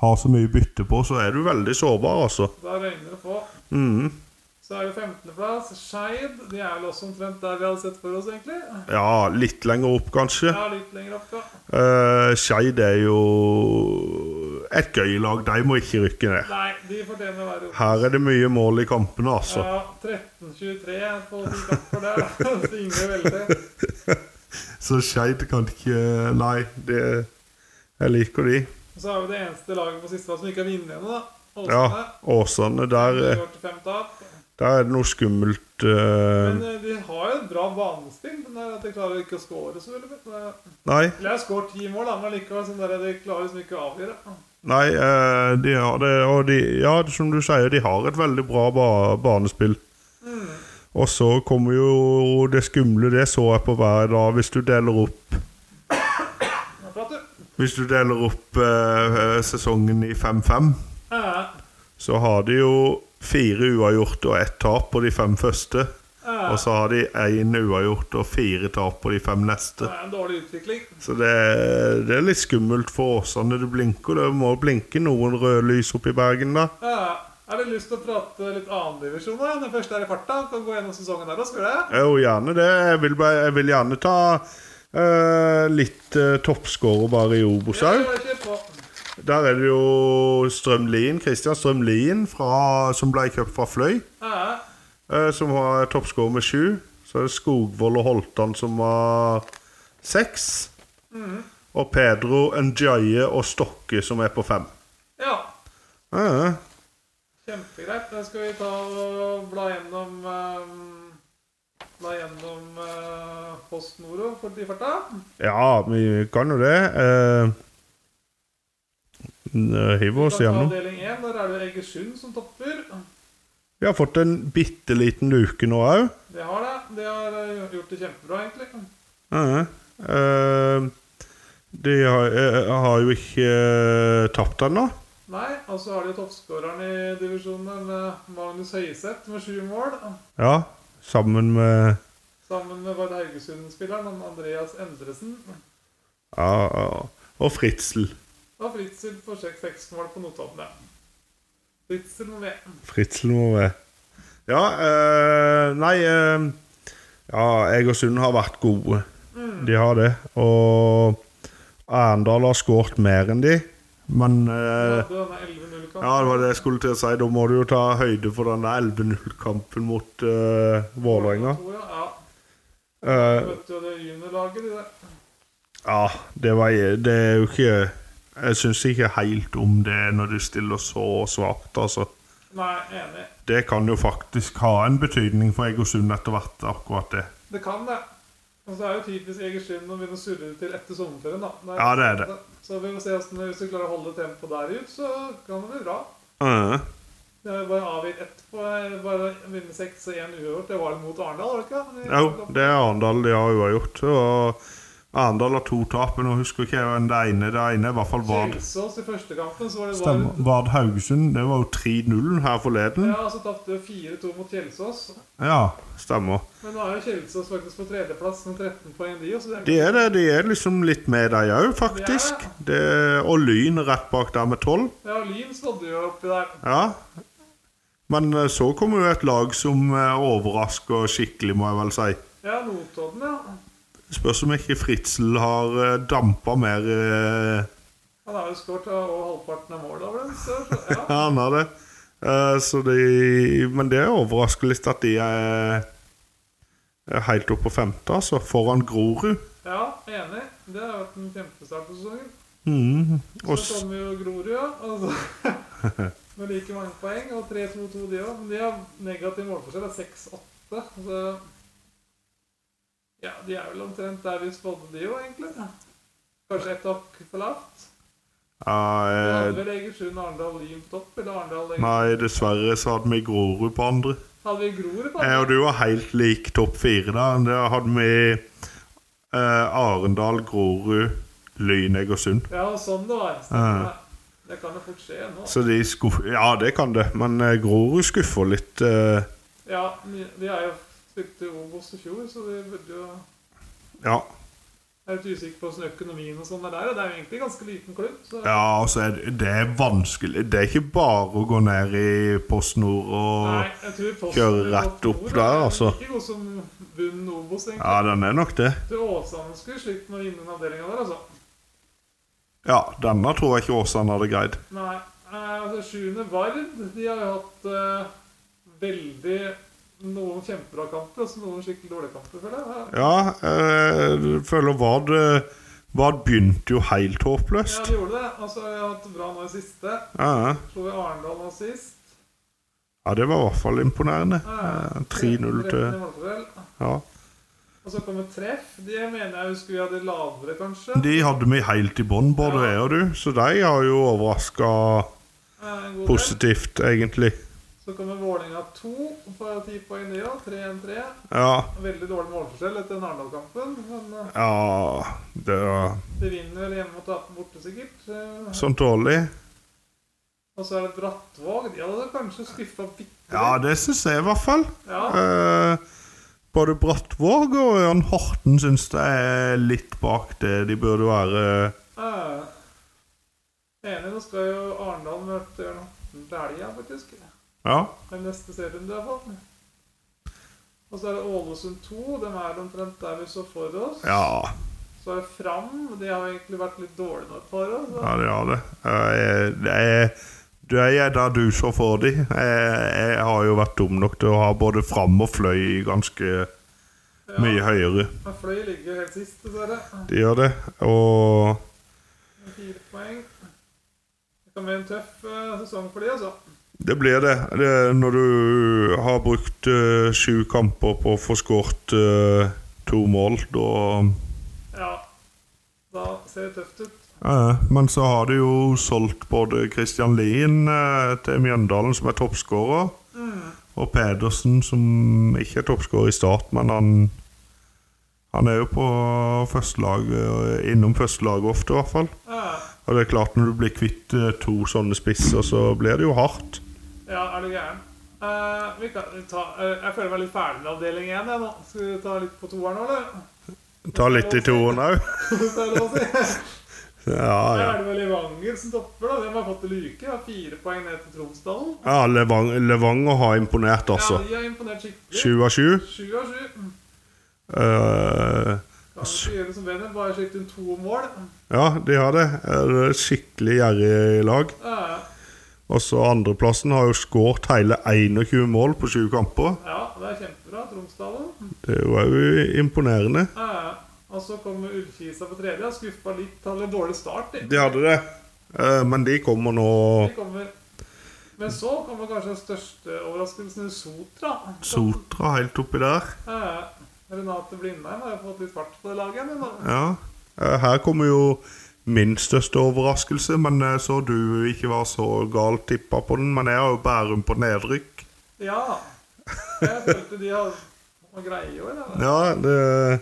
har så mye bytte på, så er du veldig sårbar, altså.
da røyner det på.
Mhm.
Så er det 15.-plass. Skeid. De er vel også omtrent der vi hadde sett for oss, egentlig.
Ja, litt lenger opp, kanskje.
Ja, litt lenger opp, ja.
Uh, Skeid er jo et gøy lag. De må ikke rykke ned.
Nei, de fortjener å være oppe.
Her er det mye mål i kampene, altså.
Ja, 13-23 på de kamper der. da. [LAUGHS] Svinger veldig.
Så Skeid kan ikke Nei, det Jeg liker de.
Og så er vi det eneste laget på siste plass som ikke har vunnet ennå, da.
Ja, eh,
Åsane.
Åsane. Der,
De går til fem tap.
der er det noe skummelt eh,
Men eh, de har jo et bra banespill. Men det er at de klarer ikke å skåre så veldig. mye. Det-
Nei,
Eller de har skåret ti mål, da, men likevel sånn der, de klarer liksom ikke å avgjøre.
nei eh, de har det Og de, ja, som du sier, de har et veldig bra ba banespill. Og så kommer jo det skumle, det så jeg på hver dag, hvis du deler opp
Nå prater du.
Hvis du deler opp eh, sesongen i 5-5,
Ja,
så har de jo fire uavgjort og ett tap på de fem første.
ja.
Og så har de én uavgjort og fire tap på de fem
Det
neste.
er en dårlig utvikling.
Så det, det er litt skummelt for Åsane. Det blinker. Det må blinke noen røde lys oppe i Bergen, da.
Ja, jeg har lyst til å prate litt annen divisjon. da. Den første er i farta. Kan gå gjennom sesongen der og spørre.
Jo, gjerne det. Jeg vil, bare, jeg vil gjerne ta eh, litt uh, toppskårer bare i Obos
Ja,
òg.
ja, kjør på.
Der er det jo Strømlien, Christian Strømlien, fra, som ble kjøpt fra Fløy,
Ja,
eh, som har toppskårer med sju. Så er det Skogvold og Holtan som har seks. Og Pedro, Njaye og Stokke som er på fem.
ja.
Eh,
Kjempegreit. Da skal vi ta og bla gjennom ehm, Bla gjennom uh, Post Noro for de farta.
ja, vi kan jo det. Eh, n- hiver
Vi
oss
kan ta
gjennom.
Avdeling 1. Der er det Egersund som topper.
Vi har fått en bitte liten luke nå òg.
Det har det. De har eh, gjort det kjempebra, egentlig.
Eh, eh, de har, eh, har jo ikke eh, tapt ennå.
Nei, og så har de jo toppskåreren i divisjonen, eh, Magnus Høiseth, med sju mål.
Ja, sammen med
Sammen med Vard Haugesund-spilleren, han Andreas Endresen.
Ja, ja. Og Fritzel.
Og Fritzel får seks seksmål på Notodden, ja. Fritzel må
Eh,
med.
Fritzel må med. Ja, eh, nei eh, Ja, Egersund har vært gode. De har det. Og Arendal har skåret mer enn de. Men
Du
eh,
hadde denne 11-0-kampen.
Ja, det var det jeg skulle til å si. Da må du jo ta høyde for den der 11-0-kampen mot eh, Vålerenga.
Ja,
Eh,
møtte jo det juniorlaget, de der.
ja, det var Det er jo ikke Jeg syns ikke helt om det når du stiller så svakt, altså.
Nei, enig.
Det kan jo faktisk ha en betydning for Egersund etter hvert, akkurat det.
Det kan det. Og så er jo typisk Egersund å begynne å surre til etter sommerferien, da. Nei,
Ja, det er det.
Så vi må se hvordan hvis du klarer å holde tempoet der ut, så kan det bli bra.
Eh,
Det er bare avgitt ett på bare vinne seks og én uavgjort. Det var det mot Arendal, var det ikke? det?
Jo, det er Arendal de har uavgjort. Og Arendal har to tap, men nå husker ikke jeg hvem det ene Det ene i hvert fall Vard.
Kjelsås i første kampen, så var det
Stemmer.
Vard.
Vard Haugesund. Det var jo 3-0 her forleden.
Ja, så tapte vi 4-2 mot Kjelsås.
Ja, stemmer.
Men nå er jo Kjelsås faktisk på tredjeplass med 13 poeng, de. og så
De er det. De er liksom litt med, de òg, faktisk. Det, og Lyn rett bak der med tolv.
Ja, Lyn snodde jo oppi der.
Ja. Men eh, så kommer jo et lag som eh, overrasker skikkelig, må jeg vel si.
Ja, Notodden, ja.
Spørs om ikke Fritzel har eh, dampa mer eh,
Han har jo skåret eh, over halvparten av målet over den, så så- ja.
Han har det. Eh, Så de Men det overrasker litt at de er er helt oppe på femte, altså. Foran Grorud.
ja, enig. Det har vært en kjempestart på sesongen.
Mhm. Og
Så
s-
kommer jo Grorud, ja. Altså, [LAUGHS] med like mange poeng og 3-2-2, de òg. Men de har negativ målforskjell. Det er 6-8. Så ja, de er vel omtrent der vi spådde de jo, egentlig. Kanskje ett hakk for lavt.
ja,
Vi hadde
eh,
vel Egersund og Arendal Lyn på topp, eller Arendal Egersund.
Nei, dessverre så hadde vi Grorud på andre.
Hadde vi Grorud på
Jeg og
andre?
du var helt lik topp fire der. Der hadde vi eh, Arendal, Grorud, Lyn, Egersund.
Ja, sånn det var.
Ja.
Det kan jo fort skje nå.
Så de skuffer Ja, det kan det, men eh, Grorud skuffer litt. eh,
Ja, de de er jo spilte jo Obos i fjor, så de burde jo
Ja.
Jeg er litt usikker på hvordan økonomien og sånn er der. og Det er jo egentlig en ganske liten klubb. Så
Ja, altså, er det- det er vanskelig. Det er ikke bare å gå ned i Post Nord og
Nei, jeg tror Posten
kjører
er
rett
godt
opp
ord,
der,
da.
altså.
Ikke god som bunnen Obos, egentlig.
Ja, den er nok det.
Jeg tror Åsane skulle slitt med å vinne den avdelinga der, altså.
Ja, denne tror jeg ikke Åsane hadde greid.
Nei. eh, Altså, sjuende Vard, de har jo hatt eh, veldig noen kjempebra kamper, og så noen skikkelig dårlige kamper, føler jeg.
Ja, eh, jeg føler Vard eh, Vard begynte jo helt
Ja,
håpløst.
de gjorde det. Og så har jeg hatt det bra nå i siste.
Ja,
Slo jo Arendal nå sist.
ja det var i hvert fall imponerende.
Ja,
Eh, 3-0 til
13 i målforskjell.
Ja.
Og så kommer treff. Det mener jeg husker vi hadde lavere, kanskje.
De hadde vi helt i bånn, både jeg og du, så de har jo overraska
Eh, en god del.
positivt, egentlig.
Så kommer Vålerenga 2 på 10 poeng ned, 3-1-3.
Ja.
Veldig dårlig målforskjell etter den Arendal-kampen. Men eh,
Ja, det var
de vinner vel hjemme og taper borte, sikkert. Eh,
sånn dårlig.
Og så er det Brattvåg. De hadde kanskje skuffa bitte
Ja, det syns jeg i hvert fall.
Ja,
Eh, både Brattvåg og Ørn Horten syns det er litt bak det de burde være.
eh, Enig. Nå skal jo Arendal møte Ørn Horten til helga, faktisk.
Ja.
Den neste serien, i hvert fall. Og så er det Ålesund 2. De er omtrent der vi så for oss.
Ja,
Så er det Fram. De har egentlig vært litt dårlige nå et par år. Så.
ja det har det. Eh, det er du er da du så for de. Jeg, jeg har jo vært dum nok til å ha både fram og fløy ganske
Ja.
mye høyere.
Men Fløy ligger helt sist, dessverre.
De gjør det. Og
Med Fire poeng. Det kan bli en tøff eh, sesong for de, altså.
Det blir det. det når du har brukt eh, sju kamper på å få skåret eh, to mål, da
Ja. Da ser det tøft ut.
Eh, Men så har du jo solgt både Christian Lien eh, til Mjøndalen, som er toppskårer, og Pedersen, som ikke er toppskårer i Start, men han han er jo på førstelaget, innom førstelaget ofte, i hvert fall.
Eh,
Og det er klart, når du blir kvitt eh, to sånne spisser, så blir det jo hardt.
ja, er du gæren? Eh, vi kan ta, eh, jeg føler meg litt ferdig med avdeling én jeg, nå. Skal vi ta litt på toeren nå, eller? [LAUGHS]
Ta litt i toeren òg.
hvis det er lov å si.
Ja,
Da
ja.
er det vel Levanger som topper, da. De har fått luke. Har fire poeng ned til Tromsdalen.
ja Levang, Levanger har imponert, altså.
Ja, de har imponert skikkelig.
Sju av sju.
Sju av sju. Kan
Eh,
ikke gjøre det som bedre. Bare slippe inn to mål.
ja, de har det. Eh, Det er et skikkelig gjerrig lag.
Ja,
Og så andreplassen har jo skåret hele 21 mål på 20 kamper.
ja, det er kjempebra. Tromsdalen.
Det er jo òg imponerende.
Ja, og så kommer Ullkisa på tredje. Har skuffa litt. Hadde en dårlig start, de.
De hadde det, Eh, men de kommer nå
De kommer. Men så kommer kanskje den største overraskelsen. Sotra.
Sotra helt oppi der.
Ja, Renate Blindheim har jo fått litt fart på det laget. Men da.
Ja. Eh, Her kommer jo min største overraskelse, men eh, så du ikke var så galt tippa på den. Men jeg har jo Bærum på nedrykk.
Ja. Jeg følte de hadde noe greie i år. da.
Ja, det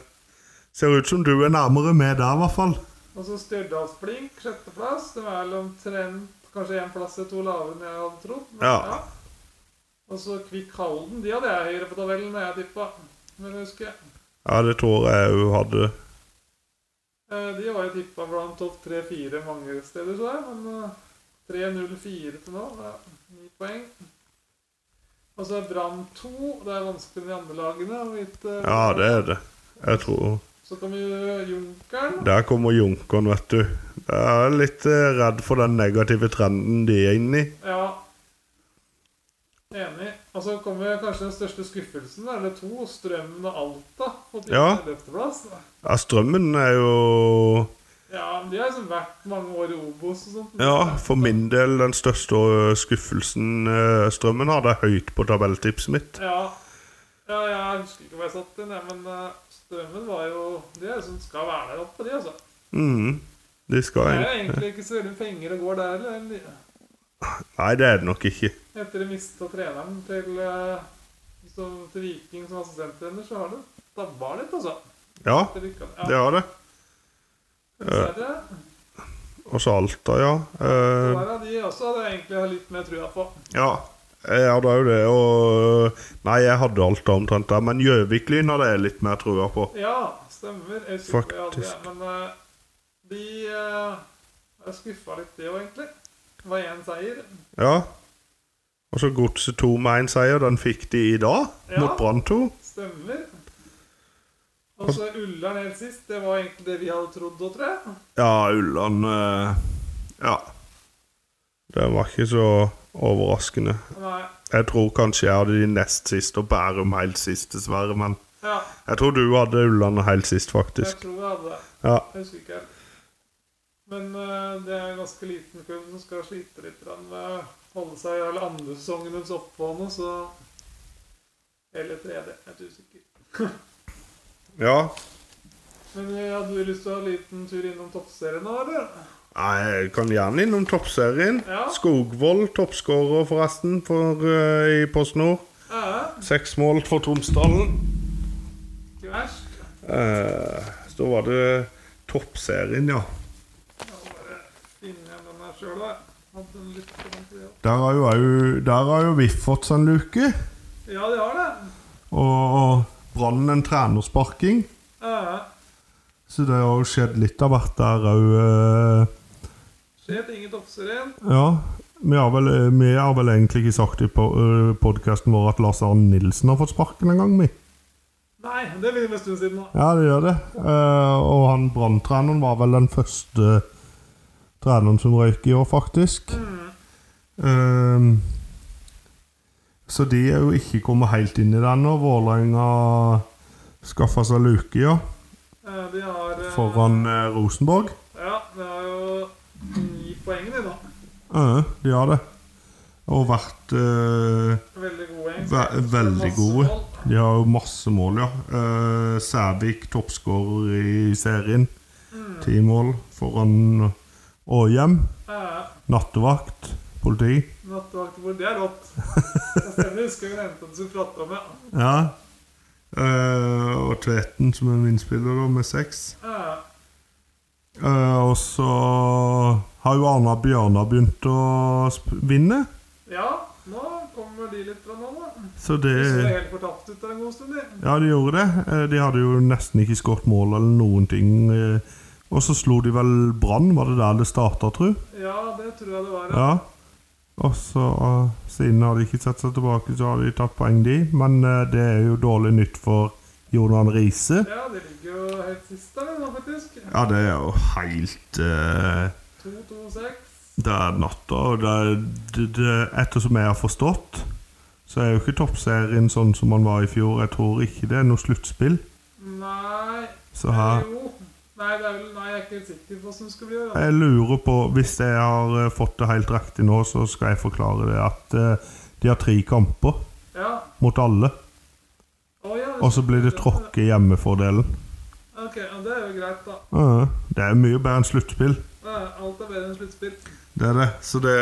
ser ut som du er nærmere med der, i hvert fall.
Og så Stjørdalsblink, sjetteplass. De er vel omtrent kanskje én plass eller to lavere enn jeg hadde trodd. men
Ja.
Og så Kvikk Halden. De hadde jeg høyere på tabellen enn jeg tippa. Men jeg husker
Ja, det tror jeg hun hadde.
eh, De var jo tippa blant topp tre-fire mange steder, så jeg. Men eh, 3-0-4 til nå. Det er ni poeng. Og så er Brann 2. Det er vanskeligere enn de andre lagene. og litt, eh,
Ja, det er det. Jeg tror
Så kommer jo Junkeren.
Der kommer Junkeren, vet du. Jeg er litt eh, redd for den negative trenden de er inne i.
Ja. Enig. Og så kommer kanskje den største skuffelsen. Da. Eller to. Strømmen og Alta. På
Ja.
11.-plass.
Ja, strømmen er jo
Ja, men de har liksom vært mange år i Obos og sånt.
Ja, for min del den største ø, skuffelsen ø, Strømmen har det høyt på tabelltipset mitt.
Ja. ja, jeg husker ikke hvor jeg satt den, jeg, men eh, Strømmen var jo De er liksom skal være der oppe, de, altså.
Mm, de skal
Det er jo
inn.
egentlig ikke så veldig penger det går der eller, eller.
Nei, det er det nok ikke.
Etter å mista treneren til eh, som, til Viking som assistenttrener, så har det dabba litt, altså.
Ja,
Det rykka
det har det.
Dessverre.
Og så Alta, ja. Eh,
Der er de også hadde jeg egentlig har litt mer trua på.
ja. Jeg hadde jo det, og eh, Nei, jeg hadde Alta omtrent der, men Gjøvik-Lyn hadde jeg litt mer trua på.
Ja, stemmer. Jeg husker ikke hva Jeg
Faktisk.
hadde, men eh, de eh, Jeg skuffa litt, det òg, egentlig. Det var én seier.
Ja. Og så Godset 2 med én seier. Den fikk de i dag,
Ja.
mot Brann 2.
Stemmer. Og så Ullern helt sist. Det var egentlig det vi hadde trodd òg, tror jeg.
Ja, Ulland eh, Ja. Det var ikke så overraskende.
Nei.
Jeg tror kanskje jeg hadde de nest siste og Bærum helt sist, dessverre. Men
Ja,
jeg tror du hadde Ulland helt sist,
jeg
faktisk.
tror jeg hadde det.
Ja.
Jeg husker ikke helt. Men eh, det er en ganske liten klubb som skal slite litt grann med å holde seg i alle andre sesongen deres oppå nå, så Eller tredje. Jeg er usikker.
ja.
Men eh, hadde du lyst til å ha en liten tur innom toppserien nå, eller?
Nei, jeg kan gjerne innom toppserien.
Ja.
Skogvold, toppskårer forresten for, eh, i Post Nord.
Ja,
Seks mål for Tromsdalen.
ikke verst.
Eh, så da var det toppserien, ja.
Finner jeg den her sjøl, da. Hadde den litt på den tiden.
Der har jo, au- der har jo VIF fått seg en luke.
Ja, de har det.
Og, og Brann en trenersparking.
Ja,
Så det har jo skjedd litt av hvert der òg.
Skjer ting i toppserien.
Ja. Vi har, vel, eh, vi har vel egentlig ikke sagt i podkasten vår at Lars Arne Nilsen har fått sparken en gang, vi.
Nei, det blir en stund siden nå.
Ja, det gjør det. Eh, og han Brann-treneren var vel den første treneren som røyk i år, faktisk. Eh, så de er jo ikke kommet helt inn i det ennå. Vålerenga skaffa seg luke, ja.
Eh, De har eh,
Foran eh, Rosenborg.
Ja, de har jo ni poeng, de nå.
Ja, de har det. Og vært eh,
Veldig gode. egentlig.
ve veldig
Masse
gode.
mål.
De har jo masse mål, ja. Eh, Sævik toppskårer i serien. Ti mål foran Århjem.
Ja,
Nattevakt. Politi.
Nattevaktbord, det er rått. Jeg stemmer, husker jeg nevnte det som vi pratet om, ja.
Ja. Eh, og Tveten som er innspiller, da, med seks.
Ja,
Eh, og så har jo Arna Bjørnar begynt å sp vinne.
Ja, Nå kommer de litt fra nå, da.
Så
De så
det
helt fortapt ut der en god stund, de.
Ja, de gjorde det. Eh, De hadde jo nesten ikke skåret mål eller noen ting. eh, Og så slo de vel Brann, var det der det starta, tru?
Ja, det tror jeg det var. Ja.
Ja. Og så eh, Siden har de ikke sett seg tilbake, så har de tatt poeng, de. Men eh, det er jo dårlig nytt for Jonan Riise.
ja, de ligger jo helt sist der nå, faktisk.
Ja, det er jo helt eh,
2-2-6.
Det er natta, og det er, det, det, ettersom jeg har forstått, så er jo ikke toppserien sånn som man var i fjor. Jeg tror ikke det er noe sluttspill.
Nei
Så her
eller Jo. Nei, det er vel, nei, jeg er ikke helt sikker på hvordan det skal bli. Da.
Jeg lurer på, hvis jeg har eh, fått det helt riktig nå, så skal jeg forklare det at eh, de har tre kamper
Ja.
mot alle,
Å, ja,
og så blir det tråkke i hjemmefordelen.
Ok, ja, Det er jo greit, da.
Ja, Det er mye bedre enn sluttspill.
Ja, Alt er bedre enn sluttspill.
Det er det. Så det,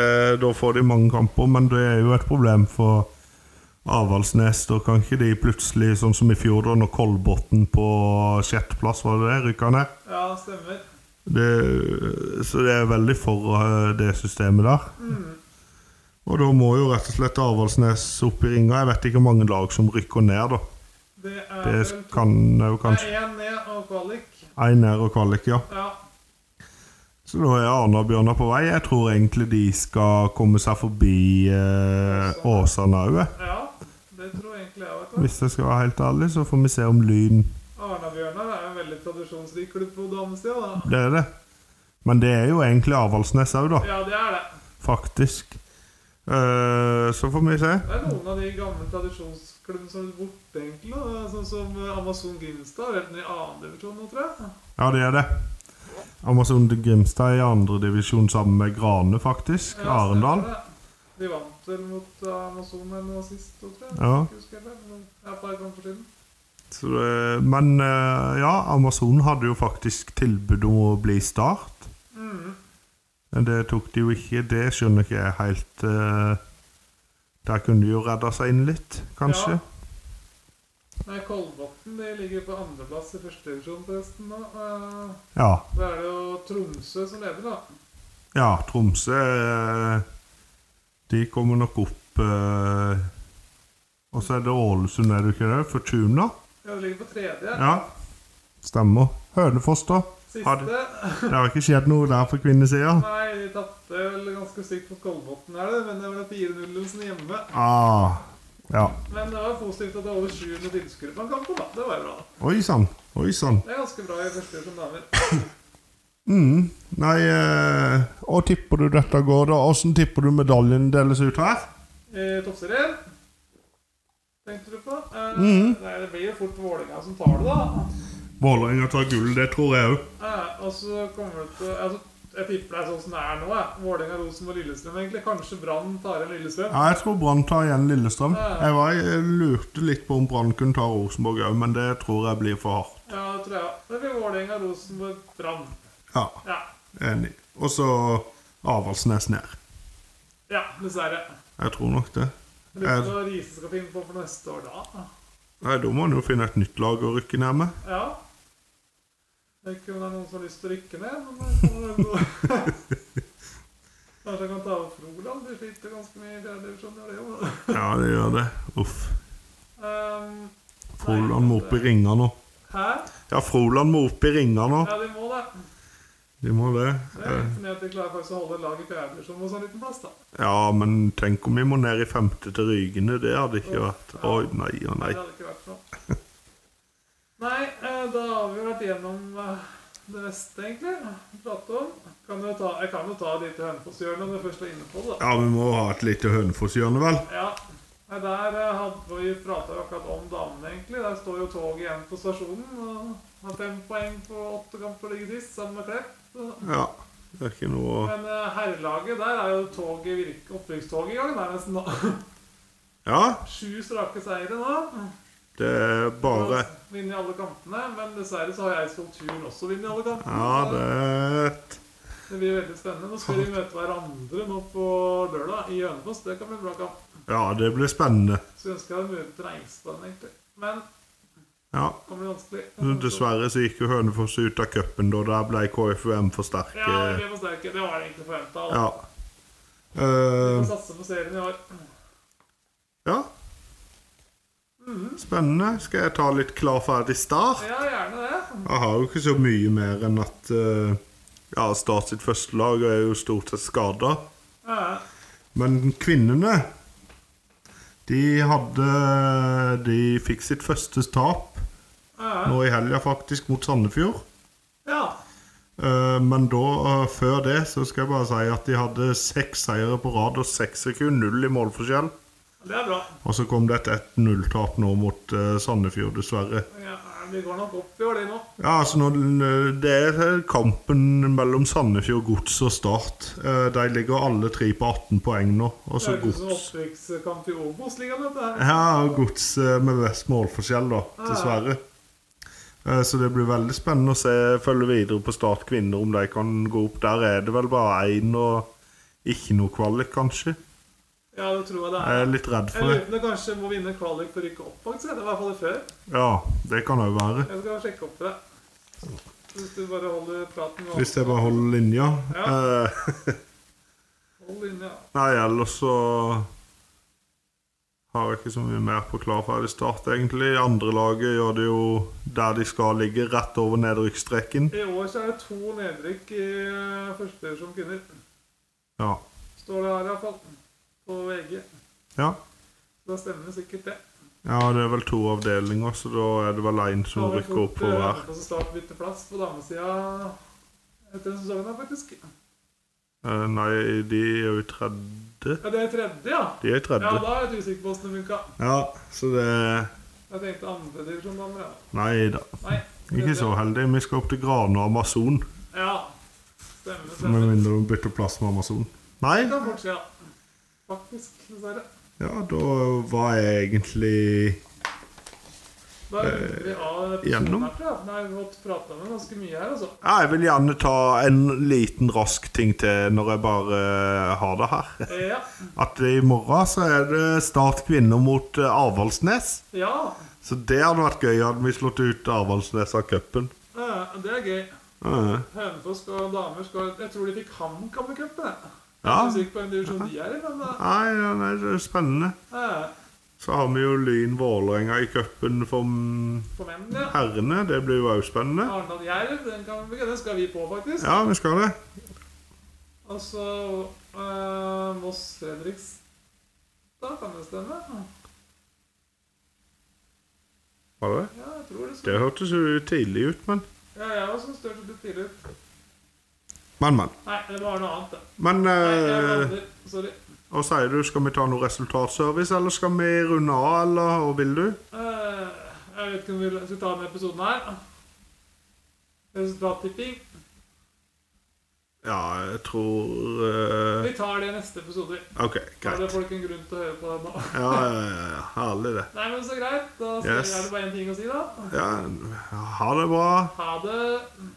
da får de mange kamper, men det er jo et problem for Avaldsnes. Da kan ikke de plutselig, sånn som i fjor, da når Kolbotn på sjetteplass var det der, rykka ned.
Ja, stemmer.
Det, så det er veldig for eh, det systemet der. Og da må jo rett og slett Avaldsnes opp i ringa. Jeg vet ikke hvor mange lag som rykker ned, da.
Det er
Det
vel to-
kan jo kanskje
Det er én ned og kvalik.
én ned og kvalik, ja.
Ja.
Så da er Arne og Bjørnar på vei. Jeg tror egentlig de skal komme seg forbi eh, Åsane òg, jeg.
ja. Det tror egentlig jeg, vet du.
Hvis jeg skal være helt ærlig, så får vi se om Lyn
Arna-Bjørnar er jo en veldig tradisjonsrik klubb på damesida, da.
Det er det. Men det er jo egentlig Avaldsnes òg, da.
Ja, det er det.
Faktisk. Eh, så får vi se.
Det er noen av de gamle tradisjonsklubbene som er borte, egentlig. da. Sånn som eh, Amazon Grimstad, helt ned i annen divisjon nå, tror jeg.
Ja, det er det. Amazon de Grimstad er i andredivisjon sammen med Grane, faktisk.
Ja,
Arendal.
stemmer det. De vant vel mot eh, Amazon eller noe sist, tror jeg.
Ja.
Ikke husker jeg, men ja, et par kamper siden.
Så det, men eh, ja, Amazon hadde jo faktisk tilbud om å bli Start. Men det tok de jo ikke. Det skjønner ikke jeg helt. eh, Der kunne de jo redda seg inn litt, kanskje.
Ja. Nei, Kolbotn de ligger på andreplass i første divisjon, forresten. Da Eh,
Ja.
Da er det jo Tromsø som leder, da.
Ja, Tromsø eh, De kommer nok opp eh, Og så er det Ålesund, er det ikke det? Fortuna?
Ja, det ligger på tredje.
Ja. Stemmer. Hønefoss, da? Har det,
Siste
det har ikke skjedd noe der på kvinnesida?
Nei, de tapte vel ganske sykt mot Kolbotn, er det, men det var 4-0-en hjemme.
Ah, ja.
Men det var positivt at det var over 700 tilskuere på en kamp. da. Det var jo bra.
Oi sann. Oi sann.
Det er ganske bra i første som damer.
Mm. Nei, eh, og tipper du dette går, da? Åssen tipper du medaljen deles ut her?
Eh, Toppserien tenkte du på? Eh,
Mhm.
Nei, det blir jo fort Vålerenga som tar det, da.
Vålerenga tar gull, det tror jeg òg.
Eh, og så kommer det til altså, Jeg tipper det er sånn som det er nå. Eh. Vålerenga, Rosenborg, Lillestrøm, egentlig. Kanskje Brann tar igjen Lillestrøm.
Ja, jeg tror Brann tar igjen Lillestrøm.
Ja.
Jeg, var, jeg lurte litt på om Brann kunne ta Rosenborg òg, men det tror jeg blir for hardt.
Ja, det tror jeg. Det blir Vålerenga, Rosenborg, Brann.
Ja,
Ja.
enig. Og så Avaldsnes ned.
ja, dessverre.
Jeg tror nok det.
Lurer
Er-
på hva Riise skal finne på for neste år da.
Nei, Da må en jo finne et nytt lag å rykke ned med.
Ja. Det er ikke om det er noen som har lyst til å rykke ned, men det kan vel gå.
[LAUGHS]
Kanskje jeg kan ta over Froland? De sliter ganske mye i fjerdedivisjon, gjør det jo.
Ja, det gjør det. Uff.
Ehm,
Froland må opp i ringa nå.
Hæ?
Ja, Froland må opp i ringa nå.
Ja, de må det.
De må det.
Det er litt fornøyd at de klarer faktisk å holde laget i fjerdedivisjon på sånn liten plass, da.
Ja, men tenk om vi må ned i femte til Rygene. Det hadde ikke vært Oi, nei og nei.
Det hadde ikke vært noe. Nei, eh, da har vi jo vært gjennom eh, det meste, egentlig. Prate om. Kan jo ta, jeg kan jo ta et lite Hønefoss-hjørne om du først er inne på det. da.
Ja, vi må ha et lite Hønefoss-hjørne, vel?
Ja. Nei, der eh, hadde vi prata akkurat om damene, egentlig. Der står jo toget igjen på stasjonen. Og har fem poeng på åtte kamper ligger sist, sammen med Klepp. Så-
Ja. Det er ikke noe
Men eh, herrelaget, der er jo toget virke, opprykkstoget i gang. Det er nesten [LAUGHS] da.
Ja,
sju strake seire nå.
det er bare
Vinner alle kampene. Men dessverre så har jeg skulpturen også vunnet alle kampene.
Ja, det er et
Så det blir veldig spennende. Nå skal de møte hverandre nå på lørdag i Hønefoss. Det kan bli en bra kamp.
Ja, det blir spennende.
Skulle ønske jeg hadde mulighet til å reise på den, egentlig. Men det
Ja.
kan bli vanskelig.
Dessverre så gikk jo Hønefoss ut av cupen da. Der ble KFUM for eh,
Ja, det
sterke.
blir for sterke. Det var det egentlig forventa.
Ja.
Vi
Eh,
får satse på serien i år.
Ja. Spennende. Skal jeg ta litt klar, ferdig, start?
Ja, gjerne det.
Jeg har jo ikke så mye mer enn at eh, ja, Start sitt første lag er jo stort sett skada.
Ja,
Men kvinnene De hadde De fikk sitt første tap
ja.
nå i helga, faktisk, mot Sandefjord.
ja.
Eh, Men da, eh, før det, så skal jeg bare si at de hadde seks seire på rad og seks sekunder null i målforskjell.
Det er bra.
Og så kom det et 1-0-tap nå mot eh, Sandefjord, dessverre.
Ja, vi går nok opp i år, det nå.
Ja, altså når, den- Det er kampen mellom Sandefjord, Gods og Start. Eh, De ligger alle tre på 18 poeng nå. Og
Det
så
er jo ikke som
Gods.
opprykkskamp i Obos-ligaen, dette her.
Ja, og Gods eh, med best målforskjell, da. Dessverre. Eh, Så det blir veldig spennende å se, følge videre på Start kvinner, om de kan gå opp. Der er det vel bare én og ikke noe kvalik, kanskje.
Ja, det tror jeg det
Jeg
er.
er litt redd
Jeg
for
lurer
det.
på om det kanskje må vinne kvalik for å rykke opp, faktisk. Det var i hvert fall det før.
Ja, det kan òg være.
Jeg skal sjekke opp for deg. Hvis du bare holder praten med
Hvis jeg bare holder linja.
Ja.
Eh, [LAUGHS]
Hold inne, ja.
Nei, ellers så har jeg ikke så mye mer på klar ferdig start, egentlig. Andre laget gjør det jo der de skal ligge, rett over nedrykksstreken.
I år så er det to nedrykk i eh, første divisjon kvinner.
Ja.
Står det her iallfall. På VG.
ja.
Så da stemmer det sikkert det.
Ja, det er vel to avdelinger, så da er det vel én som rykker opp
eh,
på hver.
Og så start bytte plass på damesida etter denne sesongen, her, faktisk.
Eh, Nei, de er jo i tredje.
Ja, det er tredje, ja.
De er i
Ja,
tredje.
da er jeg litt usikker på åssen det funka.
Ja, så det
Jeg tenkte andredivisjon damer, ja.
Nei da.
Nei.
Ikke sånn. så heldig. Vi skal opp til Grane og Amazon.
Ja. Stemmer,
Med
stemmer.
mindre de bytter plass med Amazon. Nei,
Det kan fort skje, ja. Faktisk, dessverre.
ja, da var jeg egentlig
Da runder vi av
Eh, gjennom.
episoden her, tror jeg. Nei, vi har fått prata med ganske mye her, altså.
Ja, jeg vil gjerne ta en liten rask ting til når jeg bare eh, har det her.
Eh, Ja.
At i morgen så er det Start kvinner mot eh, Avaldsnes.
ja.
Så det hadde vært gøy hadde vi slått ut Avaldsnes av cupen.
eh, Det er gøy.
Eh,
Hønefoss og damer skal Jeg tror de fikk HamKam i cupen, jeg. Jeg
Ja.
er ikke sikker på hvilken divisjon de er i, men eh,
Nei, ja, nei, det er spennende.
eh,
Så har vi jo Lyn Vålerenga i cupen for mm,
for menn, ja.
herrene. Det blir jo òg spennende.
Arendal-Jerv, den, kan vi- den skal vi på, faktisk.
Ja, vi skal det.
Og så eh, Moss-Fredrikstad, kan det stemme?
Var det det?
Ja, jeg tror det.
Det
Skal.
hørtes jo tidlig ut, men
Ja, jeg også syns det hørtes litt tidlig ut.
Men, men.
Nei, det var noe annet, det.
Men
Nei, jeg
eh,
blander. Sorry.
Hva sier du? Skal vi ta noe resultatservice, eller skal vi runde av, eller hva vil du?
Eh, jeg vet ikke om vi skal ta denne episoden her. Resultattipping.
Ja, jeg tror eh,
Vi tar det i neste episode.
OK,
Da har det
greit.
folk en grunn til å høre på det nå. [LAUGHS]
Ja, ja, ja, herlig, det.
Nei, men så greit. Da sier-
Yes.
er det bare én ting å si, da.
Ja, ha det bra.
Ha det.